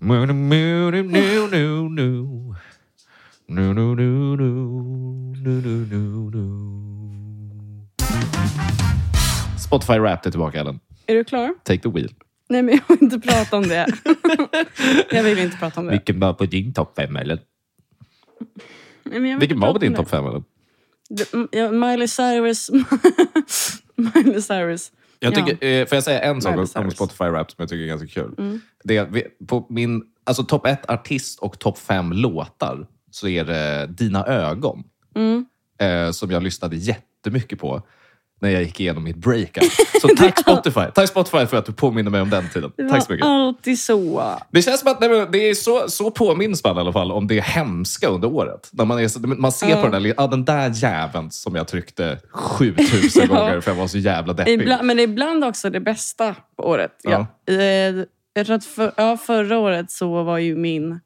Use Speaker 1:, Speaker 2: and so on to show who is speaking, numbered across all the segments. Speaker 1: Nu, nu, nu, nu, nu, nu. Nu, nu, nu, nu, nu, nu, nu, nu. Spotify Wrapped är tillbaka, Ellen.
Speaker 2: Är du klar?
Speaker 1: Take the wheel.
Speaker 2: Nej, men jag vill inte prata om det. jag vill inte prata om det.
Speaker 1: Vilken var på din topp fem, Ellen?
Speaker 2: Nej, men jag vill
Speaker 1: Vilken
Speaker 2: inte
Speaker 1: var på
Speaker 2: prata om
Speaker 1: din
Speaker 2: det.
Speaker 1: topp fem, Ellen?
Speaker 2: Det- m- ja, Miley Cyrus. Miley Cyrus.
Speaker 1: Jag
Speaker 2: Ja.
Speaker 1: tycker, eh, Får jag säga en sak
Speaker 2: Miley
Speaker 1: om- om
Speaker 2: Cyrus. Mm.
Speaker 1: Spotify Wrapped som jag tycker är ganska kul? Det är, vi- på min alltså, topp ett artist och topp fem låtar så är det Dina ögon.
Speaker 2: Mm.
Speaker 1: Eh, som jag lyssnade jättemycket på när jag gick igenom mitt breakup. Så tack Spotify. Tack Spotify för att du påminner mig om den tiden.
Speaker 2: Det
Speaker 1: Tack
Speaker 2: var
Speaker 1: så mycket.
Speaker 2: alltid så.
Speaker 1: Det känns som att nej, men det är så, så påminns man i alla fall om det hemska under året. När man, är, så- man ser på den där, li- ah, den där jäveln som jag tryckte 7000
Speaker 2: Ja.
Speaker 1: gånger för jag var så jävla deppig.
Speaker 2: Ibland, men ibland också det bästa på året.
Speaker 1: Ja.
Speaker 2: Ja. Eh, Jag tror att för, ja, förra året så var ju min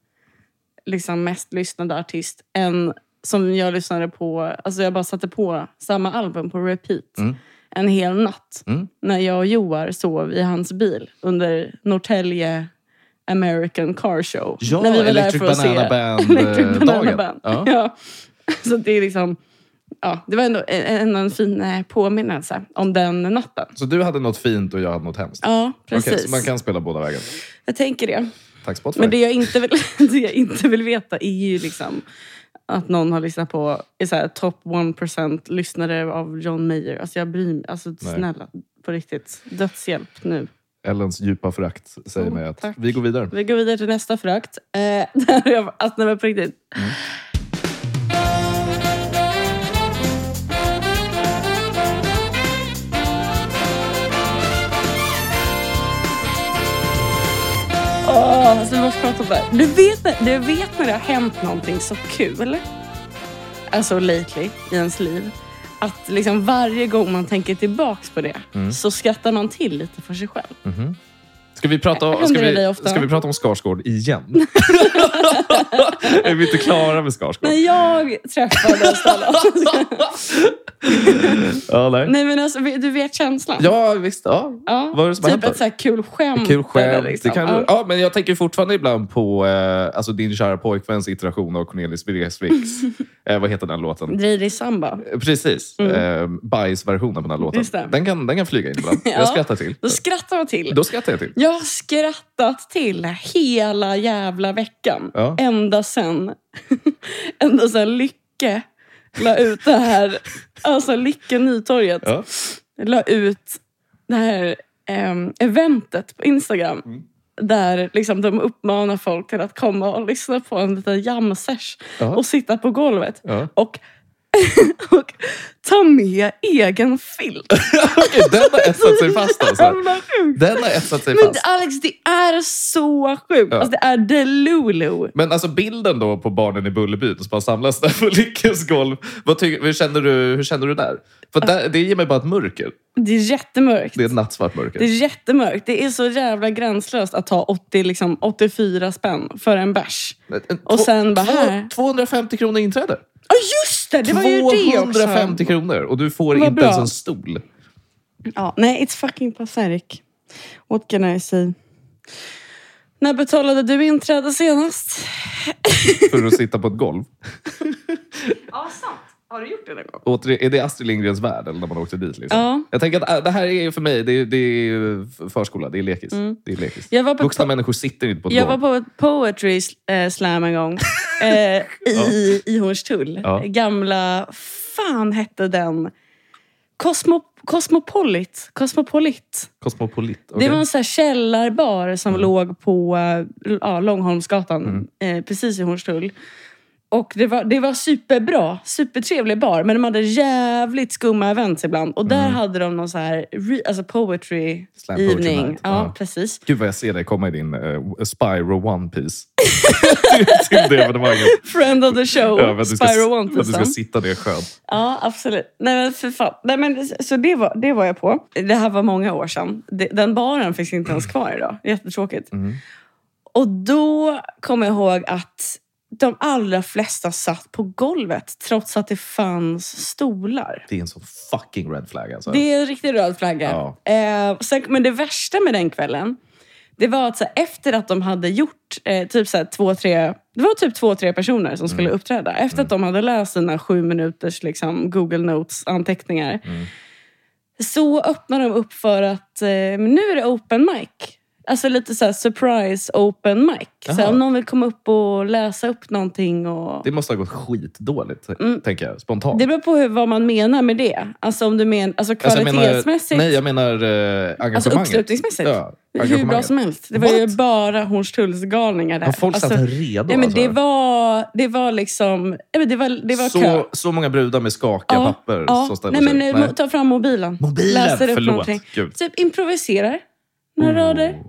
Speaker 2: liksom, mest lyssnade artist en som jag lyssnade på. Alltså jag bara satte på samma album på repeat
Speaker 1: Mm.
Speaker 2: en hel natt.
Speaker 1: Mm.
Speaker 2: När jag och Joar sov i hans bil under Norrtälje American Car Show.
Speaker 1: Ja,
Speaker 2: när vi var där
Speaker 1: Electric
Speaker 2: för att se
Speaker 1: Banana Band, eh,
Speaker 2: Electric Banana
Speaker 1: dagen.
Speaker 2: Band.
Speaker 1: Ja.
Speaker 2: Ja. Så det är liksom... Ja, det var ändå en, en, en fin eh, påminnelse om den natten.
Speaker 1: Så du hade något fint och jag hade något hemskt?
Speaker 2: Ja, precis.
Speaker 1: Okej, så man kan spela båda vägar.
Speaker 2: Jag tänker det.
Speaker 1: Tack Spotify.
Speaker 2: Men det jag, inte vill, det jag inte vill veta är ju liksom att någon har lyssnat på är så här, top 1% lyssnare av John Mayer. Alltså jag bryr mig. Alltså snälla, på riktigt. Dödshjälp nu.
Speaker 1: Ellens djupa förakt säger
Speaker 2: Mm,
Speaker 1: mig att
Speaker 2: tack.
Speaker 1: vi går vidare.
Speaker 2: Vi går vidare till nästa frakt. Eh, där jag, alltså, nej, men på riktigt. Åh, alltså, vi måste prata om det här. Du vet, när- du vet när det har hänt någonting så kul, alltså lately, i ens liv, att liksom varje gång man tänker tillbaks på det så skrattar man till lite för sig själv.
Speaker 1: Ska vi prata,
Speaker 2: Händer
Speaker 1: ska
Speaker 2: det dig
Speaker 1: vi,
Speaker 2: ofta?
Speaker 1: ska vi prata om Skarsgård igen? är vi inte klara med Skarsgård?
Speaker 2: När jag träffade Stella.
Speaker 1: Ja, nej.
Speaker 2: Nej men alltså, du vet känslan?
Speaker 1: ja visst. Ja.
Speaker 2: Ja,
Speaker 1: Vad är det som har hänt
Speaker 2: Typ
Speaker 1: då?
Speaker 2: ett så här kul skämt.
Speaker 1: Kul skämt.
Speaker 2: eller liksom.
Speaker 1: Det kan,
Speaker 2: Ja.
Speaker 1: ja. men jag tänker fortfarande ibland på eh, alltså din kära pojkväns iteration av Cornelis Vreeswijks. eh, vad heter den låten?
Speaker 2: Drider i samba.
Speaker 1: Eh, Precis. Eh, Bajsversionen på den här låten.
Speaker 2: Mm. Just det.
Speaker 1: Den kan, den kan flyga in ibland.
Speaker 2: Ja.
Speaker 1: Jag skrattar till.
Speaker 2: Då skrattar man till.
Speaker 1: Då skrattar jag till.
Speaker 2: Jag har skrattat till hela jävla veckan.
Speaker 1: Ja.
Speaker 2: Ända sen, ända sen Lycke la ut det här, alltså Lycke Nytorget
Speaker 1: Ja.
Speaker 2: la ut det här ehm, eventet på Instagram.
Speaker 1: Mm.
Speaker 2: Där liksom de uppmanar folk till att komma och lyssna på en liten jam-sesh
Speaker 1: Ja.
Speaker 2: och sitta på golvet.
Speaker 1: Ja.
Speaker 2: Och, och ta med egen filt.
Speaker 1: Okej, den har etsat sig fast alltså.
Speaker 2: Jävla sjukt.
Speaker 1: Den har etsat sig
Speaker 2: Men
Speaker 1: fast.
Speaker 2: Alex, det är så sjukt.
Speaker 1: Ja.
Speaker 2: Alltså, det är Delulu.
Speaker 1: Men alltså bilden då på barnen i Bullerbyn som bara samlas där på Lyckes golv. Vad tycker, hur, känner du, hur känner du där? För där, det ger mig bara ett mörker.
Speaker 2: Det är jättemörkt.
Speaker 1: Det är ett nattsvart
Speaker 2: Det
Speaker 1: mörker.
Speaker 2: är jättemörkt. Det är så jävla gränslöst att ta 80, liksom, 84 spänn för en bärs. och sen bara
Speaker 1: eh, två-
Speaker 2: här.
Speaker 1: 250 kronor inträde.
Speaker 2: Ja, just det! Det var ju det också.
Speaker 1: 250 kronor och du får
Speaker 2: Vad
Speaker 1: inte
Speaker 2: bra.
Speaker 1: ens en stol.
Speaker 2: Ja, nej, it's fucking pathetic. What can I say? När betalade du inträde senast?
Speaker 1: för att sitta på ett golv.
Speaker 2: Ja, sant. Har du gjort det någon gång?
Speaker 1: Återigen, är det Astrid Lindgrens värld eller när man åkte dit? Liksom?
Speaker 2: Ja.
Speaker 1: Jag tänker att äh, det här är för mig, det är, det är förskola, det är lekis. Det är lekis.
Speaker 2: Mm. Jag var på
Speaker 1: Vuxna människor sitter inte på ett
Speaker 2: Jag var
Speaker 1: golv.
Speaker 2: på ett poetry eh, slam en gång eh, i, i Hornstull.
Speaker 1: Ja.
Speaker 2: Gamla, fan hette den? Cosmo, Cosmopolit. Cosmopolit.
Speaker 1: Kosmopolit.
Speaker 2: Det
Speaker 1: okej. Mm.
Speaker 2: var en sån här källarbar som låg på eh, ja, Långholmsgatan, eh, precis i Hornstull. Och det var, det var superbra, supertrevlig bar, men de hade jävligt skumma events ibland. Och där hade de någon så här re, alltså poetry
Speaker 1: Mm. Slam poetry
Speaker 2: evening.
Speaker 1: night,
Speaker 2: ja,
Speaker 1: ja.
Speaker 2: precis.
Speaker 1: Gud vad jag ser dig komma i din uh, Spyro One Piece. till, till det evenemanget.
Speaker 2: Friend of the show,
Speaker 1: Ja, för att du ska-
Speaker 2: Spyro One
Speaker 1: för att du ska
Speaker 2: Piece.
Speaker 1: sitta ner skönt.
Speaker 2: Ja, absolut. Nej, men för fan. Nej, men, så det var, det var jag på. Det här var många år sedan. Det- Den baren finns inte ens kvar idag. Jättetråkigt. Och då kommer jag ihåg att de allra flesta satt på golvet trots att det fanns stolar.
Speaker 1: Det är en sån fucking red flag alltså.
Speaker 2: Det är en riktig röd flagga.
Speaker 1: Ja.
Speaker 2: Eh, och sen, men det värsta med den kvällen, det var att så, här, efter att de hade gjort eh, typ så här två, tre, det var typ två, tre personer som
Speaker 1: Mm.
Speaker 2: skulle uppträda. Efter att de hade läst sina sju minuters liksom, Google Notes-anteckningar
Speaker 1: Mm.
Speaker 2: så öppnar de upp för att eh, men nu är det open mic. Alltså lite så här surprise open mic. Så här,
Speaker 1: Jaha.
Speaker 2: om någon vill komma upp och läsa upp någonting. Och...
Speaker 1: Det måste ha gått skitdåligt,
Speaker 2: Mm.
Speaker 1: tänker jag. Spontant.
Speaker 2: Det beror på hur, vad man menar med det. Alltså om du menar alltså
Speaker 1: Alltså, jag menar-
Speaker 2: kvalitetsmässigt.
Speaker 1: Nej, jag menar eh,
Speaker 2: alltså
Speaker 1: engagemanget.
Speaker 2: uppslutningsmässigt.
Speaker 1: Ja,
Speaker 2: hur bra
Speaker 1: engagemanget.
Speaker 2: som helst. Det var
Speaker 1: What?
Speaker 2: ju bara Hornstullsgalningar där.
Speaker 1: Har folk
Speaker 2: alltså,
Speaker 1: satt en redo?
Speaker 2: nej, men
Speaker 1: alltså?
Speaker 2: det, var, det var liksom... Nej, men det var, det var kö.
Speaker 1: så, så många brudar med skakiga
Speaker 2: Ja,
Speaker 1: papper som
Speaker 2: Ja.
Speaker 1: ställer
Speaker 2: Nej, men,
Speaker 1: sig.
Speaker 2: eh, mo- Ta fram mobilen.
Speaker 1: Mobilen!
Speaker 2: Läser upp
Speaker 1: Förlåt.
Speaker 2: någonting.
Speaker 1: Gud.
Speaker 2: Typ improviserar några rader.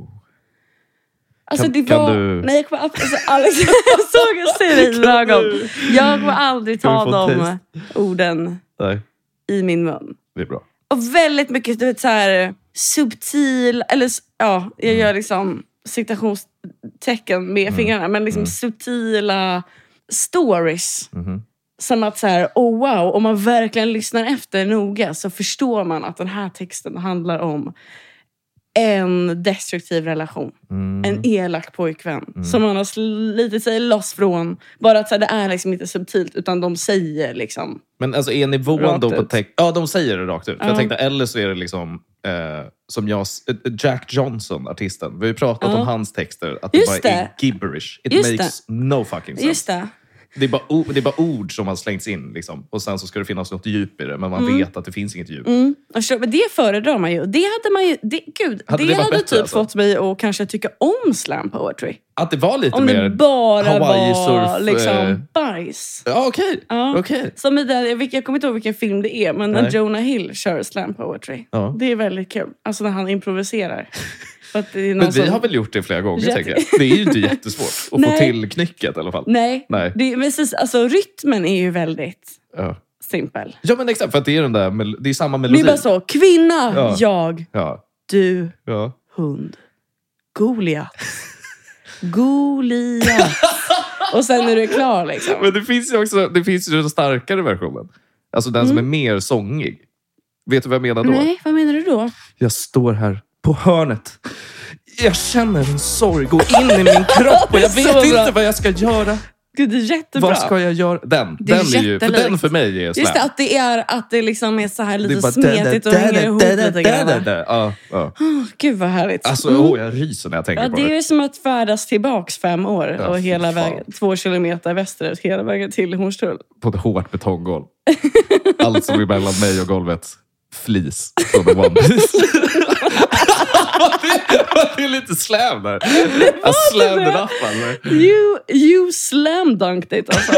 Speaker 2: Alltså
Speaker 1: Mm. Kan-
Speaker 2: det
Speaker 1: kan
Speaker 2: var...
Speaker 1: du-
Speaker 2: Nej, jag kommer aldrig... Alltså, Alex, jag såg en syn i dina
Speaker 1: Kan
Speaker 2: ögon.
Speaker 1: du-
Speaker 2: Jag kommer aldrig
Speaker 1: Kan vi
Speaker 2: ta
Speaker 1: få en
Speaker 2: de orden
Speaker 1: Nej,
Speaker 2: i min mun.
Speaker 1: det är bra.
Speaker 2: Och väldigt mycket du vet, så här, subtil... Eller s- ja, jag gör liksom citationstecken med fingrarna. Men liksom subtila stories.
Speaker 1: Mhm.
Speaker 2: Som att så här, oh wow, om man verkligen lyssnar efter noga så förstår man att den här texten handlar om en destruktiv relation.
Speaker 1: Mm.
Speaker 2: En elak pojkvän som man har slitit sig loss från. Bara att så här, det är liksom inte subtilt utan de säger liksom...
Speaker 1: Men alltså är nivån
Speaker 2: Rakt
Speaker 1: då på
Speaker 2: ut.
Speaker 1: text... Ja, de säger det rakt ut. För
Speaker 2: Ja.
Speaker 1: Jag tänkte, eller så är det liksom eh, som jag... s- eh, Jack Johnson, artisten. Vi har ju pratat
Speaker 2: Ja.
Speaker 1: om hans texter, att
Speaker 2: Just
Speaker 1: det bara är
Speaker 2: det.
Speaker 1: gibberish. It
Speaker 2: Just
Speaker 1: makes no fucking sense.
Speaker 2: Just det.
Speaker 1: Det är, bara, o- det är bara ord som har slängts in. Liksom. Och sen så ska det finnas något djup i det, men man vet att det finns inget djup.
Speaker 2: Mm. Jag förstår, Men det föredrar man ju. Det hade man ju... Det, gud,
Speaker 1: Hade
Speaker 2: det,
Speaker 1: det varit
Speaker 2: hade
Speaker 1: bättre,
Speaker 2: typ
Speaker 1: alltså?
Speaker 2: fått mig att kanske tycka om slam poetry.
Speaker 1: Att det var lite
Speaker 2: Om
Speaker 1: mer...
Speaker 2: det bara var
Speaker 1: Hawaii-surf, eh,
Speaker 2: liksom bajs.
Speaker 1: Ja, okej.
Speaker 2: Ja.
Speaker 1: Okej.
Speaker 2: Som i den, jag vet- jag kommer inte ihåg vilken film det är, men när
Speaker 1: Nej.
Speaker 2: Jonah Hill kör slam poetry.
Speaker 1: Ja.
Speaker 2: Det är väldigt kul. Alltså när han improviserar. För att det är någon
Speaker 1: Men vi
Speaker 2: som-
Speaker 1: har väl gjort det flera gånger,
Speaker 2: Jätte-
Speaker 1: tänker jag. Det är ju inte jättesvårt att
Speaker 2: alltså-
Speaker 1: få
Speaker 2: Nej.
Speaker 1: till knycket i alla fall.
Speaker 2: Nej.
Speaker 1: Nej.
Speaker 2: Det, är- men precis, alltså, rytmen är ju väldigt
Speaker 1: Ja.
Speaker 2: simpel.
Speaker 1: ja, men exakt. För att det är, den där, mel- det är samma
Speaker 2: Det
Speaker 1: melodi.
Speaker 2: är bara så. Kvinna,
Speaker 1: Ja.
Speaker 2: jag,
Speaker 1: Ja.
Speaker 2: du,
Speaker 1: Ja.
Speaker 2: hund. Goliat. Goliat. Och sen är du klar liksom.
Speaker 1: Men det finns ju också det finns ju den starkare versionen. Alltså den som är mer sångig. Vet du vad jag menar då?
Speaker 2: Mm. Nej, vad menar du då?
Speaker 1: Jag står här på hörnet. Jag känner en sorg gå in i min kropp och jag
Speaker 2: Så
Speaker 1: vet
Speaker 2: bra.
Speaker 1: inte vad jag ska göra.
Speaker 2: Gud, det är jättebra.
Speaker 1: Vad ska jag göra? Den.
Speaker 2: Det är
Speaker 1: Den är, ju, för
Speaker 2: jättelikt.
Speaker 1: den för mig är
Speaker 2: Just
Speaker 1: slam.
Speaker 2: det, att det är, att det liksom är så här
Speaker 1: Det är
Speaker 2: lite
Speaker 1: bara
Speaker 2: smetigt och
Speaker 1: da, da,
Speaker 2: hänger
Speaker 1: da,
Speaker 2: ihop
Speaker 1: da, da,
Speaker 2: lite
Speaker 1: da, da,
Speaker 2: grann. va?
Speaker 1: da. Ja, ja.
Speaker 2: Åh, Gud vad härligt.
Speaker 1: Alltså,
Speaker 2: Mm.
Speaker 1: åh, jag ryser när jag tänker
Speaker 2: Ja,
Speaker 1: på
Speaker 2: det är
Speaker 1: det.
Speaker 2: ju som att färdas tillbaks fem år
Speaker 1: Ja,
Speaker 2: och
Speaker 1: fy
Speaker 2: hela
Speaker 1: fan.
Speaker 2: vägen, två kilometer västerut, hela vägen till Hornstull.
Speaker 1: På ett hårt betonggolv. Allt som är mellan mig och golvet. Flis från en One Piece. det, det är lite slam där. Jag slammed
Speaker 2: det.
Speaker 1: it up alltså.
Speaker 2: You, you slam dunked it alltså.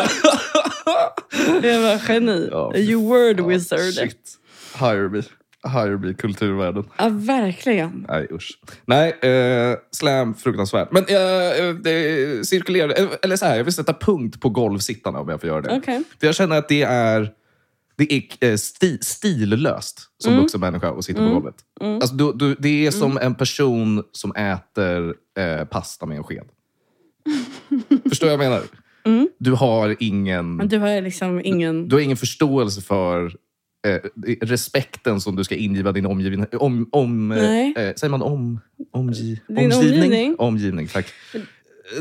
Speaker 2: Det var geni.
Speaker 1: Ja, fy
Speaker 2: you word wizard.
Speaker 1: Shit. Hire me. Hire me, kulturvärlden.
Speaker 2: Ja, verkligen.
Speaker 1: Nej, usch. Nej, eh, slam, fruktansvärt. Men eh, eh, det cirkulerar... eh, Eller så här, jag vill sätta punkt på golvsittarna om jag får göra det.
Speaker 2: Okej.
Speaker 1: För jag känner att det är, det är eh, sti, stillöst som
Speaker 2: Mm.
Speaker 1: vuxen människa att sitta på golvet. Alltså, du, du, det är som en person som äter eh, pasta med en sked. Förstår jag vad jag menar? Du har ingen...
Speaker 2: Mm. Men du har ju liksom ingen...
Speaker 1: Du har ingen förståelse för eh, respekten som du ska ingiva din omgivning. Om, om, eh,
Speaker 2: Nej.
Speaker 1: eh, säger man om, omgi,
Speaker 2: Din omgivning.
Speaker 1: Omgivning, tack. Eh,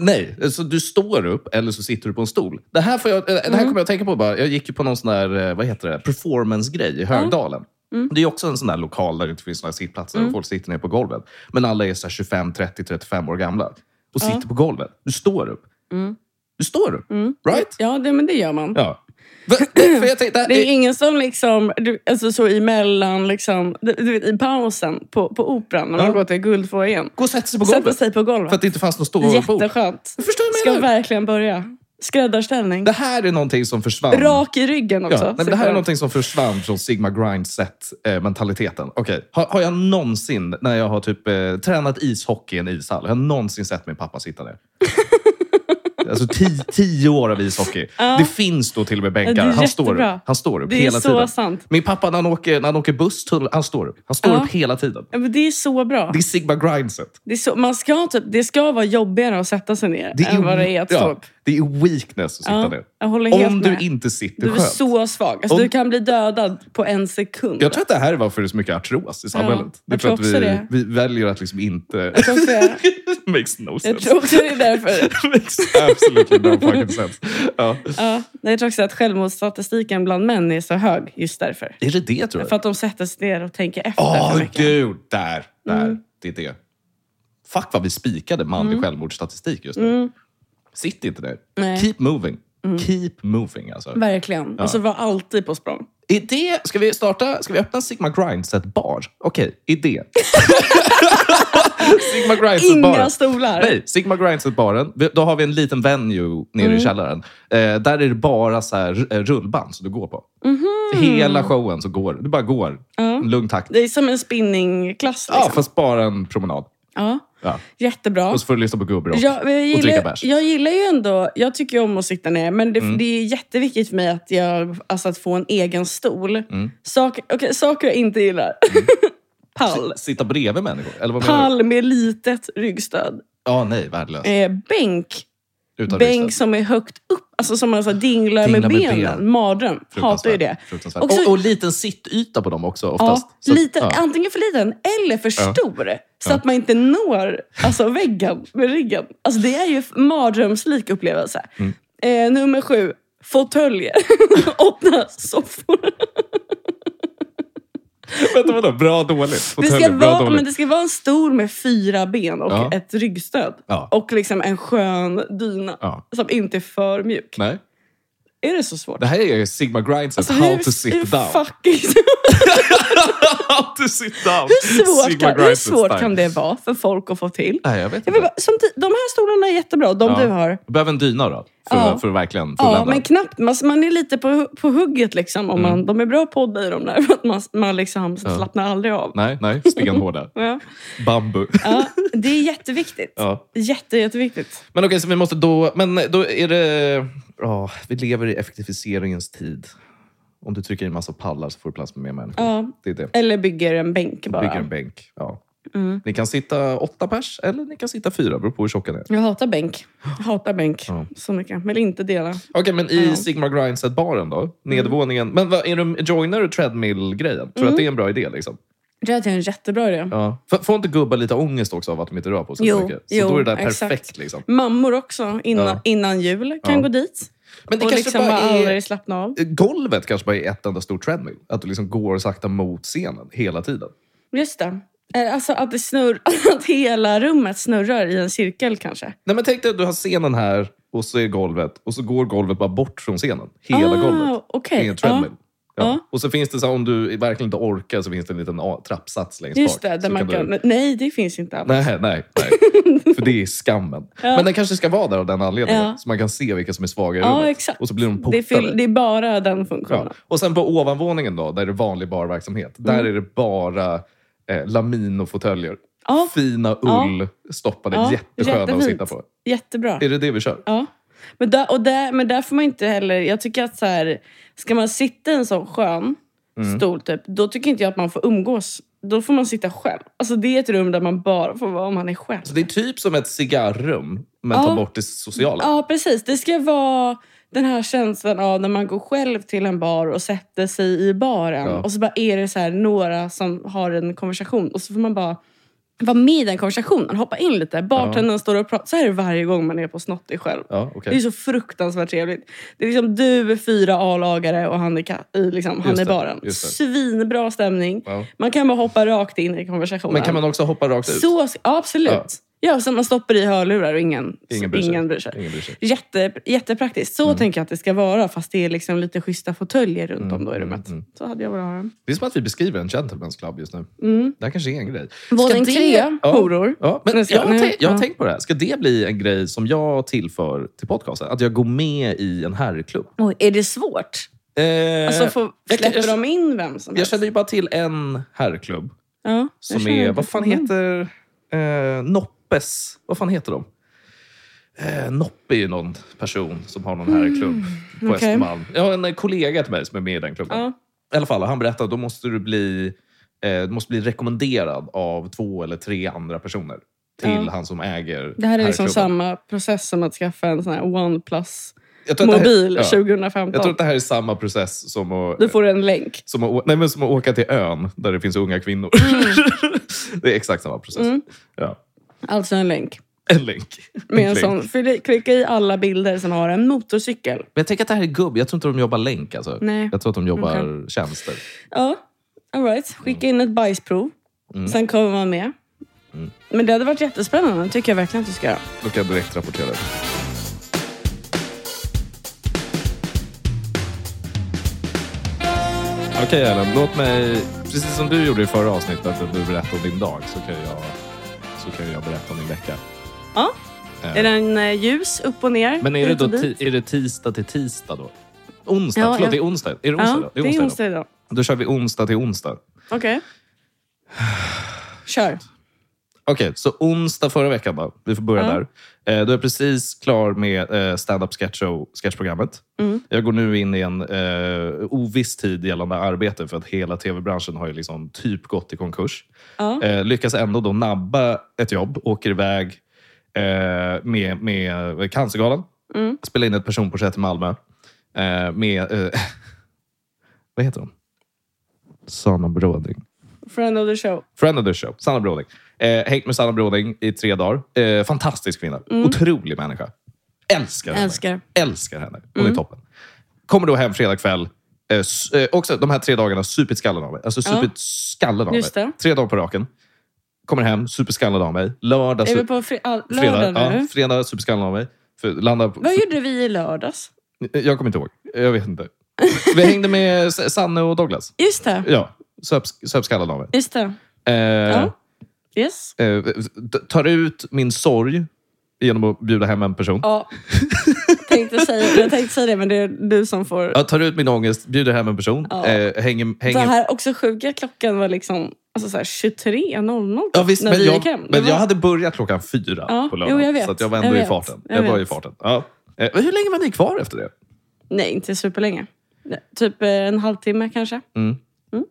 Speaker 1: Nej, så du står upp eller så sitter du på en stol. Det här, får jag, eh,
Speaker 2: Mm.
Speaker 1: det här kommer jag att tänka på. Bara. Jag gick ju på någon sån där, eh, vad heter det, performance-grej i Högdalen.
Speaker 2: Mm.
Speaker 1: Det är ju också en sån där lokal där det inte finns några sittplatser och folk sitter ner på golvet. Men alla är så här 25, 30, 35 år gamla och sitter på golvet. Du står upp. Du står upp, right?
Speaker 2: Mm. Ja, det, men det gör man.
Speaker 1: Ja. Va- För jag tänkte,
Speaker 2: Det är ingen som liksom, du, alltså så emellan, liksom, du, du vet, i pausen på, på operan när man
Speaker 1: Ja.
Speaker 2: går till Guldfoajén.
Speaker 1: Gå och sätta sig på
Speaker 2: Sätter
Speaker 1: golvet.
Speaker 2: sig på
Speaker 1: För
Speaker 2: golvet.
Speaker 1: att det inte fanns någon ståbord.
Speaker 2: Jätteskönt.
Speaker 1: Du förstår vad jag
Speaker 2: Ska
Speaker 1: menar.
Speaker 2: verkligen börja. Skräddarställning.
Speaker 1: Det här är någonting som försvann.
Speaker 2: Rak i ryggen också.
Speaker 1: Ja, nej, men det
Speaker 2: Sitter
Speaker 1: här är
Speaker 2: han.
Speaker 1: någonting som försvann från Sigma Grindset-mentaliteten. Okej, har, har jag någonsin, när jag har typ eh, tränat ishockey i en ishall, har jag någonsin sett min pappa sitta ner? alltså ti, tio år av ishockey. Det finns då till och med
Speaker 2: Ja,
Speaker 1: bänkar.
Speaker 2: det är
Speaker 1: Han står,
Speaker 2: jättebra.
Speaker 1: upp. han står upp
Speaker 2: Det är
Speaker 1: hela
Speaker 2: så
Speaker 1: tiden.
Speaker 2: sant.
Speaker 1: Min pappa när han åker, när han åker buss, tunnel, han står upp. Han står
Speaker 2: Ja.
Speaker 1: upp hela tiden.
Speaker 2: Ja, men det är så bra.
Speaker 1: Det är Sigma Grindset.
Speaker 2: Det, är så, man ska typ, det ska vara jobbigare att sätta sig ner
Speaker 1: Det är,
Speaker 2: än vad det är att stå upp.
Speaker 1: Det är weakness att sitta
Speaker 2: Ja,
Speaker 1: ner.
Speaker 2: jag håller helt
Speaker 1: Om
Speaker 2: med.
Speaker 1: du inte sitter
Speaker 2: Du är
Speaker 1: skönt.
Speaker 2: så svag. Alltså,
Speaker 1: Om-
Speaker 2: Du kan bli dödad på en sekund.
Speaker 1: Jag tror att det här är varför det är så mycket artros i samhället. det är
Speaker 2: jag
Speaker 1: för
Speaker 2: tror
Speaker 1: att
Speaker 2: också
Speaker 1: vi,
Speaker 2: det.
Speaker 1: vi väljer att liksom inte...
Speaker 2: tror också det.
Speaker 1: Makes no
Speaker 2: jag
Speaker 1: sense.
Speaker 2: tror också det är därför.
Speaker 1: Makes absolutely no fucking sense. Ja.
Speaker 2: Ja, nej, jag tror också att självmordsstatistiken bland män är så hög just därför.
Speaker 1: Är det det tror du?
Speaker 2: För att de sätter sig ner och tänker efter.
Speaker 1: Åh,
Speaker 2: för mycket. Mm.
Speaker 1: gud! Där, där. Det är det. Fuck vad vi spikade manlig självmordsstatistik just nu. Sitt inte där.
Speaker 2: Mm. Nej. Mm.
Speaker 1: Keep moving. Keep moving alltså.
Speaker 2: Verkligen. Och så var alltid på språng.
Speaker 1: Är det, ska vi starta, ska vi öppna Sigma Grindset bar? Okej, idé. Sigma Grindset
Speaker 2: Inga
Speaker 1: bar.
Speaker 2: stolar.
Speaker 1: Nej, Sigma Grindset baren. Vi- Då har vi en liten venue nere
Speaker 2: Mm.
Speaker 1: i källaren. Eh, där är det bara så här eh, rullband som du går på.
Speaker 2: Mhm.
Speaker 1: Hela showen så går du bara går. En lugn takt.
Speaker 2: Det är som en spinningklass. Liksom.
Speaker 1: Ja, fast bara en promenad.
Speaker 2: Ja.
Speaker 1: Ja.
Speaker 2: Jättebra.
Speaker 1: Och så får du lyssna på gubbrock
Speaker 2: Jag, men jag,
Speaker 1: och dricka
Speaker 2: gillar,
Speaker 1: bärs. Mm.
Speaker 2: jag gillar ju ändå... Jag tycker ju om att sitta ner, men det, det är jätteviktigt för mig att, jag, alltså att få en egen stol.
Speaker 1: Mm.
Speaker 2: Sak, okej, saker jag inte gillar. Pall.
Speaker 1: S- Sitta bredvid människor? Eller vad menar Mm. du?
Speaker 2: Pall med litet ryggstöd.
Speaker 1: Ja, nej, värdelöst.
Speaker 2: Eh, bänk.
Speaker 1: Utan
Speaker 2: Bänk
Speaker 1: ryggstöd.
Speaker 2: som är högt upp. Alltså som man så här dinglar,
Speaker 1: Dinglar
Speaker 2: med
Speaker 1: med
Speaker 2: benen.
Speaker 1: ben.
Speaker 2: Mardröm. Hatar ju det.
Speaker 1: Fruktansvärt.
Speaker 2: Och så-
Speaker 1: Och, och liten sittyta på dem också oftast.
Speaker 2: Ja,
Speaker 1: Så-
Speaker 2: liten,
Speaker 1: ja.
Speaker 2: Antingen för liten eller för
Speaker 1: Ja.
Speaker 2: stor. Så
Speaker 1: Ja.
Speaker 2: att man inte når alltså, väggen med ryggen. Alltså, det är ju en mardrömslik upplevelse.
Speaker 1: Mm.
Speaker 2: Eh, nummer sju, fåtöljer. Åtta, soffor.
Speaker 1: Vänta, vadå? Bra, dåligt?
Speaker 2: Det ska,
Speaker 1: Fåtöljer, bra,
Speaker 2: vara,
Speaker 1: dåligt.
Speaker 2: men det ska vara en stol med fyra ben och
Speaker 1: Ja.
Speaker 2: ett ryggstöd.
Speaker 1: Ja.
Speaker 2: Och liksom en skön dyna
Speaker 1: Ja.
Speaker 2: som inte är för mjuk.
Speaker 1: Nej.
Speaker 2: Är det så svårt?
Speaker 1: Det här är ju Sigma Grinds
Speaker 2: Alltså,
Speaker 1: How
Speaker 2: hur-
Speaker 1: to sit
Speaker 2: hur
Speaker 1: down.
Speaker 2: fucking-
Speaker 1: How to sit down.
Speaker 2: hur svårt,
Speaker 1: Sigma
Speaker 2: kan, hur
Speaker 1: Grinds
Speaker 2: svårt
Speaker 1: style.
Speaker 2: kan det vara för folk att få till?
Speaker 1: Nej, jag vet
Speaker 2: Jag vill
Speaker 1: inte.
Speaker 2: bara, som, ti- de här stolarna är jättebra, de
Speaker 1: Ja.
Speaker 2: du har.
Speaker 1: Du behöver en dyna då, för,
Speaker 2: Ja.
Speaker 1: att, för att verkligen
Speaker 2: Ja,
Speaker 1: fullända.
Speaker 2: men knappt. Man, man är lite på, hu- på hugget. liksom.
Speaker 1: Mm.
Speaker 2: Om man, De är bra att podda i de där, för att man, man liksom slappnar aldrig av.
Speaker 1: Nej, nej. Stenhårda.
Speaker 2: Ja.
Speaker 1: Bambu.
Speaker 2: Ja, det är jätteviktigt.
Speaker 1: Ja.
Speaker 2: Jätte, jätteviktigt.
Speaker 1: Men okej, så vi måste då... Men då är det... ja, vi lever i effektiviseringens tid. Om du trycker in massa pallar så får du plats med mer människor.
Speaker 2: Ja.
Speaker 1: Det är det.
Speaker 2: Eller bygger en bänk bara. Mm.
Speaker 1: Bygger en bänk. Ja. Ni kan sitta åtta pers eller ni kan sitta fyra, beror på hur tjocka ni är.
Speaker 2: Jag hatar bänk. Jag hatar bänk
Speaker 1: Ja.
Speaker 2: så mycket. Men inte dela.
Speaker 1: Okej, men i
Speaker 2: Ja. Mm.
Speaker 1: Sigma Grindset-baren då? Nedervåningen. Men vad, är du, joinar du treadmill-grejen? Tror du
Speaker 2: Mm.
Speaker 1: att det är en bra idé? Liksom?
Speaker 2: Jag tror att det är en jättebra idé.
Speaker 1: Ja. F- Får inte gubbar lite ångest också av att de inte rör på sig
Speaker 2: Jo,
Speaker 1: så mycket? Så
Speaker 2: jo,
Speaker 1: då är det där
Speaker 2: exakt.
Speaker 1: perfekt. Liksom.
Speaker 2: Mammor också, innan,
Speaker 1: Ja.
Speaker 2: innan jul, kan
Speaker 1: Ja.
Speaker 2: gå dit.
Speaker 1: Men det
Speaker 2: och
Speaker 1: kanske
Speaker 2: liksom
Speaker 1: bara
Speaker 2: bara
Speaker 1: är...
Speaker 2: aldrig slappna av.
Speaker 1: Golvet kanske bara är ett enda stort treadmill. Att du liksom går sakta mot scenen hela tiden.
Speaker 2: Just det. Eh, Alltså att, det snurr, att hela rummet snurrar i en cirkel kanske.
Speaker 1: Nej, men tänk dig att du har scenen här och så är golvet och så går golvet bara bort från scenen. Hela
Speaker 2: Ah,
Speaker 1: golvet.
Speaker 2: okej. Ah,
Speaker 1: Det är en treadmill.
Speaker 2: Ja,
Speaker 1: Ja.
Speaker 2: Ja.
Speaker 1: Och så finns det, så här, om du verkligen inte orkar, så finns det en liten a- trappsats längst
Speaker 2: Just
Speaker 1: bak.
Speaker 2: det, där
Speaker 1: Så
Speaker 2: man
Speaker 1: kan du-
Speaker 2: kan... Nej, det finns inte alls.
Speaker 1: Nej, nej, nej. För det är skammen. Men den kanske ska vara där av den anledningen.
Speaker 2: Ja.
Speaker 1: Så man kan se vilka som är svaga i
Speaker 2: Ja,
Speaker 1: rummet.
Speaker 2: exakt.
Speaker 1: Och så blir de
Speaker 2: Det är,
Speaker 1: portade.
Speaker 2: fyll, det är bara den funktionen.
Speaker 1: ja. Och sen på ovanvåningen då, där är det vanlig barverksamhet. Där
Speaker 2: Mm.
Speaker 1: är det bara eh, lamin och fåtöljer.
Speaker 2: Ja.
Speaker 1: Fina ull, stoppade,
Speaker 2: Ja,
Speaker 1: jättesköna att
Speaker 2: jättefint.
Speaker 1: sitta på.
Speaker 2: Jättebra.
Speaker 1: Är det det vi kör?
Speaker 2: Ja. Men, där, och där, men där får man inte heller... Jag tycker att så här, ska man sitta i en sån skön
Speaker 1: Mm.
Speaker 2: stol, typ, då tycker inte jag att man får umgås. Då får man sitta själv. Alltså Det är ett rum där man bara får vara om man är själv.
Speaker 1: Så det är typ som ett cigarrum, men
Speaker 2: Ja.
Speaker 1: ta bort det sociala.
Speaker 2: Ja, precis. Det ska vara den här känslan av när man går själv till en bar och sätter sig i baren
Speaker 1: Ja.
Speaker 2: och så bara är det så här några som har en konversation och så får man bara vara med i den konversationen, hoppa in lite. Bartendern står och pratar. Så här är det varje gång man är på Snotty själv.
Speaker 1: Ja, okej.
Speaker 2: Det är så fruktansvärt trevligt. Det är liksom du är fyra A-lagare och han är, ka- i liksom, han
Speaker 1: Just
Speaker 2: är
Speaker 1: det,
Speaker 2: baren.
Speaker 1: just det.
Speaker 2: Svinbra stämning.
Speaker 1: Ja.
Speaker 2: Man kan bara hoppa rakt in i konversationen.
Speaker 1: Men kan man också hoppa rakt ut?
Speaker 2: så, ja, absolut. Ja. så man stoppar i hörlurar och ingen,
Speaker 1: Ingen
Speaker 2: ingen
Speaker 1: bryr sig.
Speaker 2: bryr sig.
Speaker 1: Ingen bryr sig.
Speaker 2: Jätte, jättepraktiskt. Så
Speaker 1: Mm.
Speaker 2: tänker jag att det ska vara, fast det är liksom lite schyssta fåtöljer runt om då
Speaker 1: Mm,
Speaker 2: i rummet. Så hade jag velat ha den.
Speaker 1: Det är som att vi beskriver en gentleman's club just nu. Det här kanske är en grej.
Speaker 2: Våning
Speaker 1: Ska Mm. det-
Speaker 2: tre, horor.
Speaker 1: Ja, men
Speaker 2: Nu
Speaker 1: jag,
Speaker 2: ska-
Speaker 1: har
Speaker 2: nu-
Speaker 1: tänkt- jag har
Speaker 2: Oh. ja.
Speaker 1: tänkt på det här. Ska det bli en grej som jag tillför till podcasten? Att jag går med i en herrklubb?
Speaker 2: Oj, är det svårt?
Speaker 1: Eh,
Speaker 2: Alltså, får,
Speaker 1: jag,
Speaker 2: släpper
Speaker 1: jag, jag,
Speaker 2: de in vem som
Speaker 1: jag
Speaker 2: helst?
Speaker 1: känner ju bara till en herrklubb
Speaker 2: ja, jag
Speaker 1: som
Speaker 2: känner
Speaker 1: är...
Speaker 2: det.
Speaker 1: Vad fan
Speaker 2: Mm.
Speaker 1: heter... Eh, Noppes. Vad fan heter de? Eh, Noppe är ju någon person som har någon herrklubb på
Speaker 2: Mm, okej.
Speaker 1: Östermalm. Jag har en eh, kollega till mig som är med i den klubben.
Speaker 2: Ja.
Speaker 1: I alla fall, han berättade att då måste du bli, eh, du måste bli rekommenderad av två eller tre andra personer. till han som äger
Speaker 2: Det här är liksom
Speaker 1: herrklubben.
Speaker 2: samma process som att skaffa en sån här OnePlus-mobil
Speaker 1: Jag tror att det här- ja.
Speaker 2: 2015.
Speaker 1: Jag tror att det här är samma process som att...
Speaker 2: Du får en länk.
Speaker 1: Som att, å- nej, men som att åka till ön där det finns unga kvinnor.
Speaker 2: Mm.
Speaker 1: det är exakt samma process. Ja.
Speaker 2: Alltså en länk.
Speaker 1: En länk.
Speaker 2: Mm. Med en
Speaker 1: länk.
Speaker 2: sån, fyll- klicka i alla bilder som har en motorcykel.
Speaker 1: Men jag tänker att det här är gubb. Jag tror inte de jobbar länk. Alltså.
Speaker 2: Nej.
Speaker 1: Jag tror att de jobbar tjänster.
Speaker 2: Ja, all right. Skicka in ett bajsprov.
Speaker 1: Mm.
Speaker 2: Sen kommer man med. Men det hade varit jättespännande. Det tycker jag verkligen att du ska göra.
Speaker 1: Då kan jag direkt rapportera. Okej Ellen, låt mig, precis som du gjorde i förra avsnittet, att du berättade om din dag, så kan jag, så kan jag berätta om min vecka.
Speaker 2: Ja.
Speaker 1: Eh,
Speaker 2: Är den eh, ljus upp och ner?
Speaker 1: Men är det,
Speaker 2: hit
Speaker 1: då
Speaker 2: och dit?
Speaker 1: ti- är det tisdag till tisdag då? Onsdag,
Speaker 2: Ja,
Speaker 1: förlåt
Speaker 2: jag-
Speaker 1: det är onsdag. Är det onsdag
Speaker 2: Ja,
Speaker 1: då?
Speaker 2: det är
Speaker 1: då.
Speaker 2: onsdag idag.
Speaker 1: Då kör vi onsdag till onsdag.
Speaker 2: Okej. Kör.
Speaker 1: Okej, så onsdag förra veckan då. Vi får börja
Speaker 2: Ja.
Speaker 1: där. Eh, då är jag precis klar med eh, stand-up sketch show, sketchprogrammet.
Speaker 2: Mm.
Speaker 1: Jag går nu in i en eh, oviss tid gällande arbete för att hela tv-branschen har ju liksom typ gått i konkurs.
Speaker 2: Ja.
Speaker 1: Eh, lyckas ändå då nabba ett jobb, åker iväg eh, med, med eh, Cancergalan.
Speaker 2: Mm.
Speaker 1: Spelar in ett personporträtt i Malmö. Eh, med... Eh, vad heter hon? Sanna Bråding.
Speaker 2: Friend of the show.
Speaker 1: Friend of the show, Sanna Bråding. Eh, hängt med Sanna Bråding i tre dagar. Eh, fantastisk kvinna. Otrolig människa. Älskar henne.
Speaker 2: Mm. Älskar. Mm.
Speaker 1: Älskar henne. Hon är toppen. Kommer då hem fredag kväll. Eh, s- eh, också de här tre dagarna, supit skallen av mig. Alltså supit
Speaker 2: Ja.
Speaker 1: skallen av
Speaker 2: Just
Speaker 1: mig.
Speaker 2: det.
Speaker 1: Tre dagar på raken. Kommer hem, superskallad av mig. Lördag,
Speaker 2: är
Speaker 1: su-
Speaker 2: vi på fri- all-
Speaker 1: Alltså, fredag,
Speaker 2: lördag nu?
Speaker 1: ja, fredag superskallad av mig. För, landar på,
Speaker 2: Vad gjorde vi i lördags?
Speaker 1: jag kommer inte ihåg. Jag vet inte. Vi hängde med S- Sanne och Douglas.
Speaker 2: Just det.
Speaker 1: Ja, söp, söp skallen av mig.
Speaker 2: Just det.
Speaker 1: Eh,
Speaker 2: Ja. Yes.
Speaker 1: eh, t- tar ut min sorg genom att bjuda hem en person.
Speaker 2: Ja. tänkte säga, jag tänkte säga det, men det är du som får...
Speaker 1: Jag tar ut min ångest, bjuder hem en person,
Speaker 2: Ja.
Speaker 1: eh, hänger...
Speaker 2: Det
Speaker 1: hänger
Speaker 2: här också sjuka klockan var liksom alltså så här 23.00
Speaker 1: Ja, visst,
Speaker 2: när
Speaker 1: men
Speaker 2: vi
Speaker 1: jag,
Speaker 2: gick hem. Det
Speaker 1: men
Speaker 2: var-
Speaker 1: jag hade börjat klockan fyra
Speaker 2: Ja,
Speaker 1: på lördagen.
Speaker 2: jo, jag vet.
Speaker 1: Så att jag var
Speaker 2: Jag
Speaker 1: ändå i
Speaker 2: vet.
Speaker 1: farten. Jag,
Speaker 2: Jag
Speaker 1: var i
Speaker 2: vet.
Speaker 1: farten. Ja. Eh, men hur länge var ni kvar efter det?
Speaker 2: Nej, inte superlänge. Nej, Typ eh, en halvtimme kanske.
Speaker 1: Mm.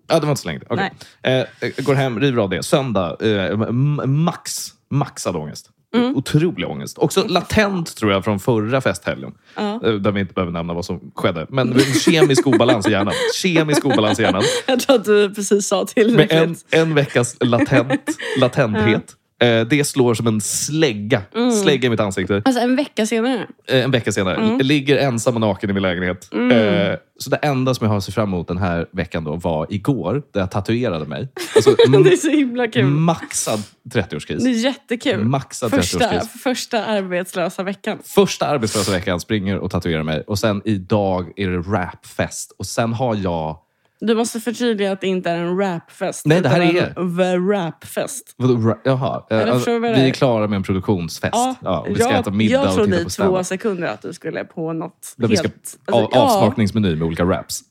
Speaker 1: Ja, det var inte så länge. Okay. Eh, jag går hem, river av det. Söndag, eh, m- max, maxad ångest.
Speaker 2: Mm.
Speaker 1: Otrolig ångest. Också latent tror jag från förra festhelgen.
Speaker 2: Ja.
Speaker 1: Eh, Där vi inte behöver nämna vad som skedde. Men kemisk obalans i hjärnan. Kemisk obalans i hjärnan.
Speaker 2: Jag tror att du precis sa till
Speaker 1: Med
Speaker 2: det.
Speaker 1: en, en veckas latent, latenthet. Eh, Det slår som en slägga,
Speaker 2: Mm.
Speaker 1: slägga i mitt ansikte.
Speaker 2: Alltså en vecka senare.
Speaker 1: Eh, En vecka senare.
Speaker 2: Mm.
Speaker 1: Ligger ensam och naken i min lägenhet. Eh, Så det enda som jag har att se fram emot den här veckan då var igår, där jag tatuerade mig. Alltså,
Speaker 2: Det är så himla kul.
Speaker 1: Mm. maxad
Speaker 2: Det är
Speaker 1: 30-årskris.
Speaker 2: jättekul.
Speaker 1: Maxad
Speaker 2: första,
Speaker 1: 30-årskris.
Speaker 2: första arbetslösa veckan.
Speaker 1: Första arbetslösa veckan springer och tatuerar mig. Och sen idag är det rapfest. Och sen har jag...
Speaker 2: Du måste förtydliga att det inte är en rapfest.
Speaker 1: Nej, det här
Speaker 2: utan
Speaker 1: är-
Speaker 2: en The Rapfest.
Speaker 1: Vadå, ra- Jaha. Eh,
Speaker 2: Eller
Speaker 1: alltså,
Speaker 2: förstår du vad det
Speaker 1: vi är
Speaker 2: är?
Speaker 1: klara med en produktionsfest. Ja, vi ska
Speaker 2: jag,
Speaker 1: äta middag
Speaker 2: jag
Speaker 1: och
Speaker 2: trodde
Speaker 1: titta
Speaker 2: i
Speaker 1: på
Speaker 2: två
Speaker 1: stand
Speaker 2: sekunder att du skulle på något
Speaker 1: Där vi
Speaker 2: helt...
Speaker 1: ska av,
Speaker 2: alltså, ja.
Speaker 1: avsmakningsmeny med olika raps.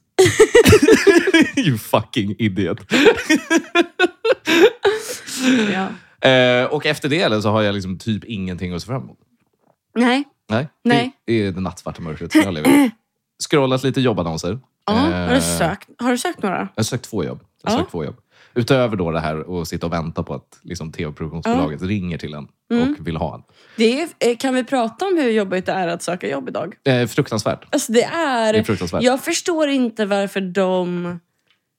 Speaker 1: you fucking idiot.
Speaker 2: Ja.
Speaker 1: Eh, och efter det eller, så har jag liksom typ ingenting att se fram emot.
Speaker 2: Nej.
Speaker 1: Nej.
Speaker 2: Nej.
Speaker 1: Det är det nattsvarta mörkret jag lever i. Scrollat lite jobbannonser.
Speaker 2: Ja, har,
Speaker 1: Eh,
Speaker 2: du sökt, har du sökt några?
Speaker 1: Jag har sökt två jobb. Jag har
Speaker 2: Ja.
Speaker 1: sökt två jobb. Utöver då det här att sitta och vänta på att liksom, tv-produktionsbolaget ringer till en
Speaker 2: Mm.
Speaker 1: och vill ha en.
Speaker 2: Det är, eh, kan vi prata om hur jobbigt det är att söka jobb idag?
Speaker 1: Eh, fruktansvärt.
Speaker 2: Alltså det är...
Speaker 1: Det är fruktansvärt.
Speaker 2: Jag förstår inte varför de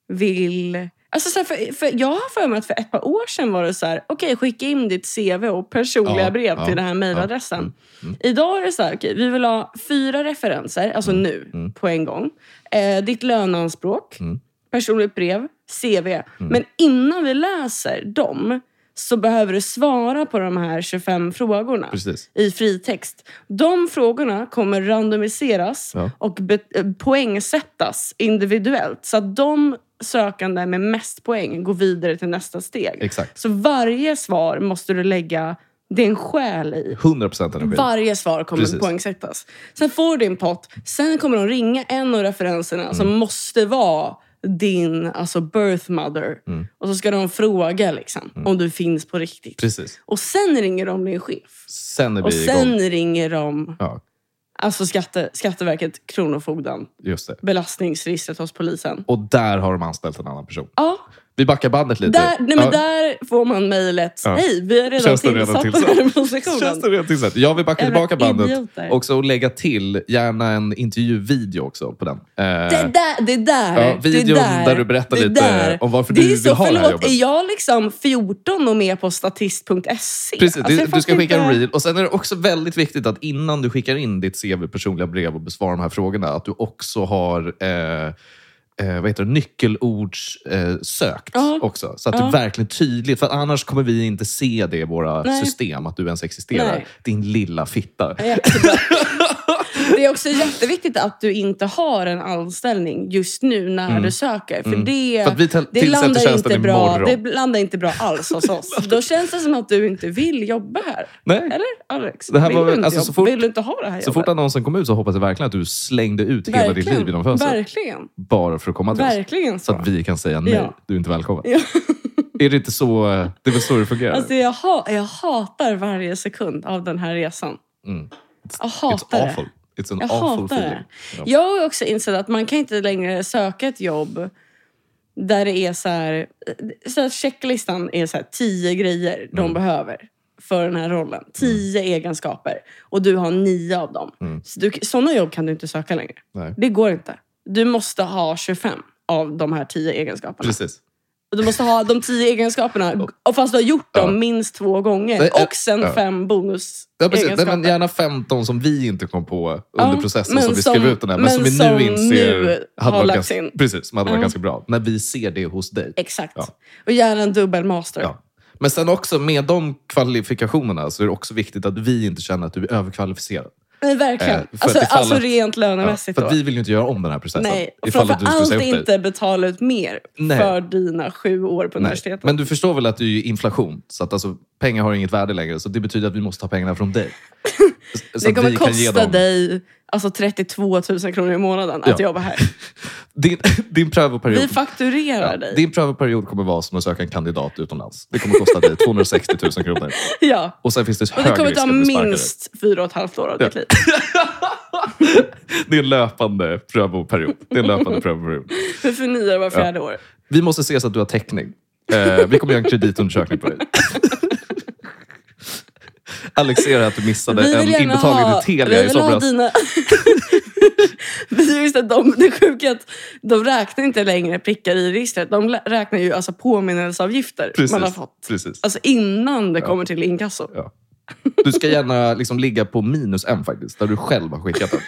Speaker 2: vill... Alltså så här, för, för jag har för mig att för ett par år sedan var det så här, okej skicka in ditt CV och personliga
Speaker 1: Ja,
Speaker 2: brev
Speaker 1: ja, Mm,
Speaker 2: till den här mejladressen. Idag är det så här, okej vi vill ha fyra referenser, alltså
Speaker 1: Mm,
Speaker 2: nu på en gång. Eh, ditt löneanspråk,
Speaker 1: Mm.
Speaker 2: personligt brev, CV. Men innan vi läser dem så behöver du svara på de här 25 frågorna
Speaker 1: Precis.
Speaker 2: i fritext. De frågorna kommer randomiseras
Speaker 1: Ja.
Speaker 2: och be- eh, poängsättas individuellt. Så att de sökande med mest poäng går vidare till nästa steg.
Speaker 1: Exakt.
Speaker 2: Så varje svar måste du lägga din själ i.
Speaker 1: 100% energi.
Speaker 2: Varje svar kommer
Speaker 1: Precis.
Speaker 2: poängsättas. Sen får du din pott. Sen kommer de ringa en av referenserna som
Speaker 1: Mm.
Speaker 2: måste vara din alltså birth mother.
Speaker 1: Mm.
Speaker 2: Och så ska de fråga liksom, om du finns på riktigt.
Speaker 1: Precis.
Speaker 2: Och sen ringer de din chef.
Speaker 1: Sen är vi
Speaker 2: Och
Speaker 1: igång.
Speaker 2: sen ringer de
Speaker 1: Ja,
Speaker 2: alltså skatte, Skatteverket, Kronofogden,
Speaker 1: just det.
Speaker 2: belastningsregistret hos polisen.
Speaker 1: Och där har de anställt en annan person.
Speaker 2: Ja,
Speaker 1: Vi backar bandet lite.
Speaker 2: Där, nej, men
Speaker 1: Ja.
Speaker 2: där får man mejlet.
Speaker 1: Ja.
Speaker 2: Hej, vi har redan
Speaker 1: Tjänsten är
Speaker 2: tillsatt
Speaker 1: redan
Speaker 2: den här positionen.
Speaker 1: Känns det redan tillsatt? Jag vill backa
Speaker 2: Jävla
Speaker 1: tillbaka bandet.
Speaker 2: idioter.
Speaker 1: Och så lägga till gärna en intervjuvideo också på den. Eh,
Speaker 2: Det är där, det är där.
Speaker 1: Ja, videon
Speaker 2: det är där,
Speaker 1: där du berättar
Speaker 2: det är
Speaker 1: lite
Speaker 2: där.
Speaker 1: om varför
Speaker 2: det
Speaker 1: du
Speaker 2: är
Speaker 1: vill
Speaker 2: så,
Speaker 1: ha det här
Speaker 2: förlåt,
Speaker 1: jobbet.
Speaker 2: Är jag liksom 14 och med på statist.se?
Speaker 1: Precis, du,
Speaker 2: Alltså, jag
Speaker 1: du ska
Speaker 2: fattar
Speaker 1: skicka en
Speaker 2: inte-
Speaker 1: reel. Och sen är det också väldigt viktigt att innan du skickar in ditt CV, personliga brev och besvarar de här frågorna, att du också har eh, eh, vad heter det, nyckelords eh, sökt
Speaker 2: Ja.
Speaker 1: också. Så att
Speaker 2: Ja.
Speaker 1: det är verkligen tydligt. För att annars kommer vi inte se det i våra
Speaker 2: Nej.
Speaker 1: system, att du ens existerar.
Speaker 2: Nej.
Speaker 1: Din lilla fitta.
Speaker 2: Jättebra. Det är också jätteviktigt att du inte har en anställning just nu när du söker. För det,
Speaker 1: Mm. För att vi till-
Speaker 2: det
Speaker 1: tillsätter
Speaker 2: landar
Speaker 1: tjänsten
Speaker 2: inte bra,
Speaker 1: imorgon.
Speaker 2: det landar inte bra alls hos oss. Då känns det som att du inte vill jobba här.
Speaker 1: Nej.
Speaker 2: Eller Alex?
Speaker 1: Det här
Speaker 2: vill,
Speaker 1: var-
Speaker 2: du inte
Speaker 1: alltså,
Speaker 2: jobba?
Speaker 1: så fort-
Speaker 2: vill du inte ha det här
Speaker 1: Så fort
Speaker 2: jobbet?
Speaker 1: annonsen kom ut så hoppas jag verkligen att du slängde ut hela ditt liv genom fönstret.
Speaker 2: Verkligen.
Speaker 1: Bara för att komma till oss.
Speaker 2: Verkligen så.
Speaker 1: Så att vi kan säga nej,
Speaker 2: Ja.
Speaker 1: du är inte välkommen.
Speaker 2: Ja.
Speaker 1: Är det inte så eh, det, är väl så det fungerar?
Speaker 2: Alltså jag, ha, jag hatar varje sekund av den här resan.
Speaker 1: Mm.
Speaker 2: Jag
Speaker 1: It's
Speaker 2: hatar
Speaker 1: awful.
Speaker 2: det.
Speaker 1: It's an
Speaker 2: Jag
Speaker 1: awful
Speaker 2: hatar
Speaker 1: feeling.
Speaker 2: det. Jag har också insett att man kan inte längre söka ett jobb där det är så här... Så här checklistan är så här tio grejer
Speaker 1: Mm.
Speaker 2: de behöver för den här rollen. Tio egenskaper. Och du har nio av dem.
Speaker 1: Mm.
Speaker 2: Så du, sådana jobb kan du inte söka längre.
Speaker 1: Nej.
Speaker 2: Det går inte. Du måste ha 25 av de här tio egenskaperna.
Speaker 1: Precis.
Speaker 2: Och Du måste ha de tio egenskaperna, och fast du har gjort dem
Speaker 1: Ja.
Speaker 2: minst två
Speaker 1: Nej,
Speaker 2: gånger.
Speaker 1: ja,
Speaker 2: Och sen
Speaker 1: ja.
Speaker 2: fem bonus
Speaker 1: Ja, precis. Nej,
Speaker 2: egenskaper.
Speaker 1: men gärna 15 som vi inte kom på under
Speaker 2: Ja,
Speaker 1: processen
Speaker 2: men
Speaker 1: som vi
Speaker 2: som-
Speaker 1: skrev ut den här. Men,
Speaker 2: men
Speaker 1: som vi
Speaker 2: som
Speaker 1: nu inser
Speaker 2: nu har
Speaker 1: hade varit
Speaker 2: lagts
Speaker 1: ganska,
Speaker 2: in.
Speaker 1: Precis, som hade varit
Speaker 2: Ja.
Speaker 1: ganska bra. När vi ser det hos dig.
Speaker 2: Exakt.
Speaker 1: Ja.
Speaker 2: Och gärna en dubbel master.
Speaker 1: Ja. Men sen också med de kvalifikationerna så är det också viktigt att vi inte känner att du är överkvalificerad.
Speaker 2: Men verkligen.
Speaker 1: Eh, för att
Speaker 2: alltså,
Speaker 1: ifall
Speaker 2: alltså
Speaker 1: att-
Speaker 2: rent
Speaker 1: Ja,
Speaker 2: lönemässigt
Speaker 1: för att
Speaker 2: då.
Speaker 1: vi vill ju inte göra om den här processen.
Speaker 2: Nej, och
Speaker 1: ifall att du skulle
Speaker 2: framförallt
Speaker 1: säga upp dig.
Speaker 2: inte betala ut mer
Speaker 1: Nej.
Speaker 2: för dina sju år på
Speaker 1: Nej.
Speaker 2: universitetet.
Speaker 1: Men du förstår väl att det är ju inflation? Så att alltså, pengar har inget värde längre. Så det betyder att vi måste ta pengarna från dig. Så
Speaker 2: det
Speaker 1: att
Speaker 2: kommer
Speaker 1: vi kan ge
Speaker 2: kosta
Speaker 1: dem-
Speaker 2: dig alltså 32 000 kronor i månaden att
Speaker 1: Ja.
Speaker 2: jobba här.
Speaker 1: Din, din prövoperiod.
Speaker 2: Vi fakturerar
Speaker 1: Ja,
Speaker 2: dig.
Speaker 1: Din prövoperiod kommer vara som att söka en kandidat utomlands. Det kommer kosta dig 260 000 kronor.
Speaker 2: Ja.
Speaker 1: Och sen finns det
Speaker 2: Och det
Speaker 1: högre
Speaker 2: kommer
Speaker 1: risk
Speaker 2: ta
Speaker 1: att bli sparkad.
Speaker 2: minst fyra och ett halvt år av ditt liv.
Speaker 1: Det är en löpande prövoperiod. Det är en löpande prövoperiod.
Speaker 2: Vi förnyar var fjärde år.
Speaker 1: Vi måste se så att du har täckning. Eh, vi kommer göra en kreditundersökning på dig. Alex ser att du missade
Speaker 2: Vi vill
Speaker 1: en
Speaker 2: gärna
Speaker 1: inbetalning
Speaker 2: ha,
Speaker 1: till
Speaker 2: vi
Speaker 1: Telia i
Speaker 2: vill ha
Speaker 1: somras.
Speaker 2: dina... Vi- Just det, de, det sjuka är att de räknar inte längre prickar i registret. De lä- räknar ju alltså påminnelseavgifter
Speaker 1: Precis.
Speaker 2: man har fått.
Speaker 1: Precis.
Speaker 2: Alltså innan det kommer till inkasso.
Speaker 1: Ja. Du ska gärna liksom ligga på minus en faktiskt, där du själv har skickat den.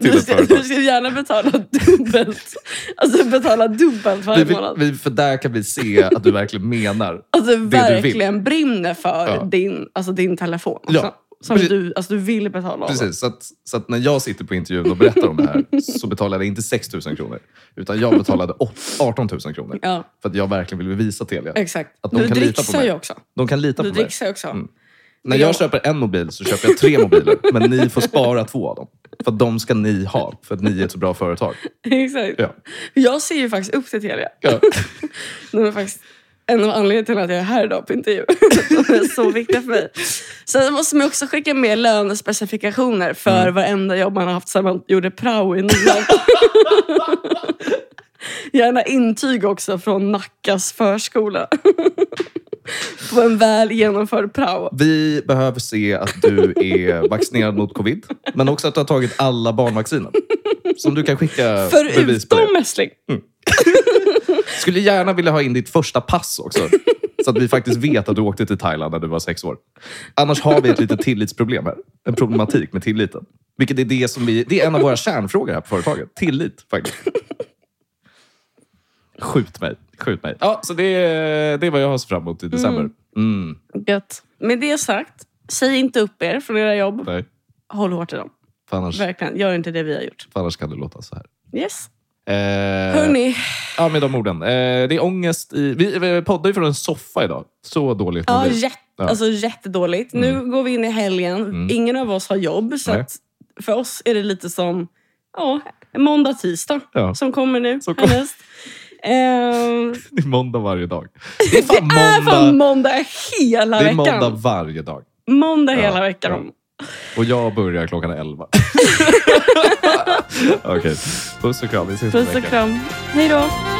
Speaker 1: Till
Speaker 2: Du
Speaker 1: ett
Speaker 2: ska,
Speaker 1: företag.
Speaker 2: du ska gärna betala dubbelt. Alltså betala dubbelt
Speaker 1: Vi,
Speaker 2: varje
Speaker 1: vi,
Speaker 2: månad.
Speaker 1: vi, för där kan vi se att du verkligen menar.
Speaker 2: Alltså
Speaker 1: du vill.
Speaker 2: verkligen brinner för
Speaker 1: Ja.
Speaker 2: din, alltså, din telefon.
Speaker 1: Ja.
Speaker 2: Som- Som
Speaker 1: Precis.
Speaker 2: du, alltså, du vill betala av.
Speaker 1: Precis, så att, så att när jag sitter på intervjun och berättar om det här så betalade jag inte 6 000 kronor. Utan jag betalade åt- 18 000 kronor.
Speaker 2: Ja,
Speaker 1: För att jag verkligen vill bevisa Telia.
Speaker 2: exakt.
Speaker 1: Att de
Speaker 2: Du
Speaker 1: kan lita på
Speaker 2: dricksar
Speaker 1: mig.
Speaker 2: ju också.
Speaker 1: De kan lita
Speaker 2: Du
Speaker 1: på mig. Mm.
Speaker 2: dricksar ju också.
Speaker 1: När
Speaker 2: Ja.
Speaker 1: jag köper en mobil så köper jag tre mobiler. Men ni får spara två av dem. För att de ska ni ha. För att ni är ett så bra företag.
Speaker 2: Exakt.
Speaker 1: Ja.
Speaker 2: Jag ser ju faktiskt upp till Telia.
Speaker 1: Ja.
Speaker 2: De är faktiskt en av anledningarna till att jag är här idag på intervju. De är så viktiga för mig. Sen måste man också skicka med lönespecifikationer för varenda jobb man har haft sedan man gjorde prao i nian. Gärna intyg också från Nackas förskola. På en väl genomförd prao.
Speaker 1: Vi behöver se att du är vaccinerad mot covid. Men också att du har tagit alla barnvacciner. Som du kan skicka bevis på.
Speaker 2: Förutom
Speaker 1: Det.
Speaker 2: mässling.
Speaker 1: Skulle gärna vilja ha in ditt första pass också. Så att vi faktiskt vet att du åkte till Thailand när du var sex år. Annars har vi ett litet tillitsproblem här. En problematik med tilliten. Vilket är det som vi... Det är en av våra kärnfrågor här på företaget. Tillit, faktiskt. Skjut mig. Skjut mig. Ja, så det, är- det är vad jag har sett fram emot i december. Mm.
Speaker 2: Gött. Med det sagt, säg inte upp er från era jobb.
Speaker 1: Nej,
Speaker 2: Håll hårt i dem.
Speaker 1: för annars, för
Speaker 2: Verkligen. Gör inte det vi har gjort.
Speaker 1: annars kan det låta så här.
Speaker 2: Yes.
Speaker 1: Eh,
Speaker 2: Hörni,
Speaker 1: Ja, med de orden. Eh, det är ångest i... Vi, vi poddar ju från en soffa idag. Så dåligt mår
Speaker 2: ja,
Speaker 1: vi.
Speaker 2: jätte,
Speaker 1: Ja. Mm.
Speaker 2: Alltså, jättedåligt. Nu går vi in i helgen. Ingen av oss har jobb. Så
Speaker 1: Nej.
Speaker 2: att för oss är det lite som ja, måndag, tisdag
Speaker 1: Ja.
Speaker 2: som kommer nu.
Speaker 1: Som kom-
Speaker 2: härnäst. Ehm,
Speaker 1: Det är måndag varje dag. Det är fan
Speaker 2: det är fan
Speaker 1: måndag,
Speaker 2: måndag
Speaker 1: det
Speaker 2: hela
Speaker 1: är
Speaker 2: veckan.
Speaker 1: måndag
Speaker 2: Måndag,
Speaker 1: varje dag.
Speaker 2: hela
Speaker 1: Ja,
Speaker 2: veckan.
Speaker 1: Och jag börjar klockan 11. Okej, puss och kram. Vi ses om en
Speaker 2: Puss och
Speaker 1: vecka.
Speaker 2: kram. Hej då.